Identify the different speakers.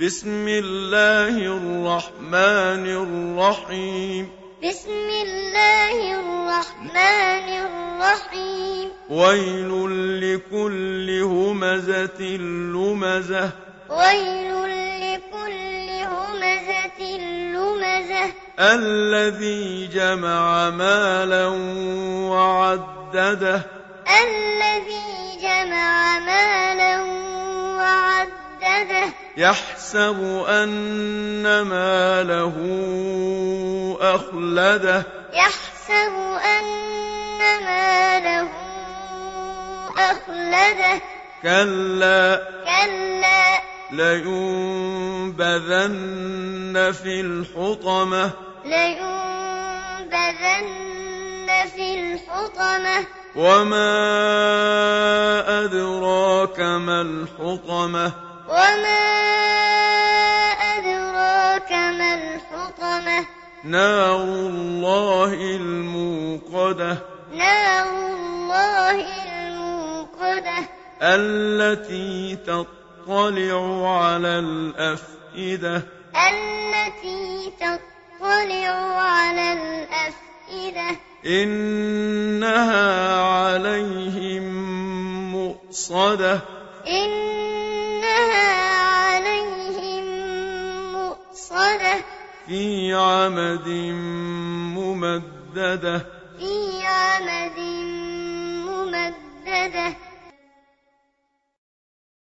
Speaker 1: بسم الله الرحمن الرحيم
Speaker 2: بسم الله الرحمن الرحيم
Speaker 1: ويل لكل همزة لمزة
Speaker 2: ويل لكل همزة لمزة
Speaker 1: الذي جمع مالا وعدده
Speaker 2: الذي جمع مالا وعدده
Speaker 1: يحسب أن ماله أخلده
Speaker 2: يحسب أن ماله أخلده
Speaker 1: كلا
Speaker 2: كلا
Speaker 1: لينبذن في الحطمة
Speaker 2: لينبذن في الحطمة
Speaker 1: وما أدراك ما الحطمة
Speaker 2: وما أدراك ما الحطمة
Speaker 1: نار الله الموقدة
Speaker 2: نار الله الموقدة
Speaker 1: التي تطلع على الأفئدة
Speaker 2: التي تطلع على الأفئدة
Speaker 1: إنها عليهم مؤصدة
Speaker 2: إنها عليهم مؤصدة
Speaker 1: في عمد ممددة
Speaker 2: في عمد ممددة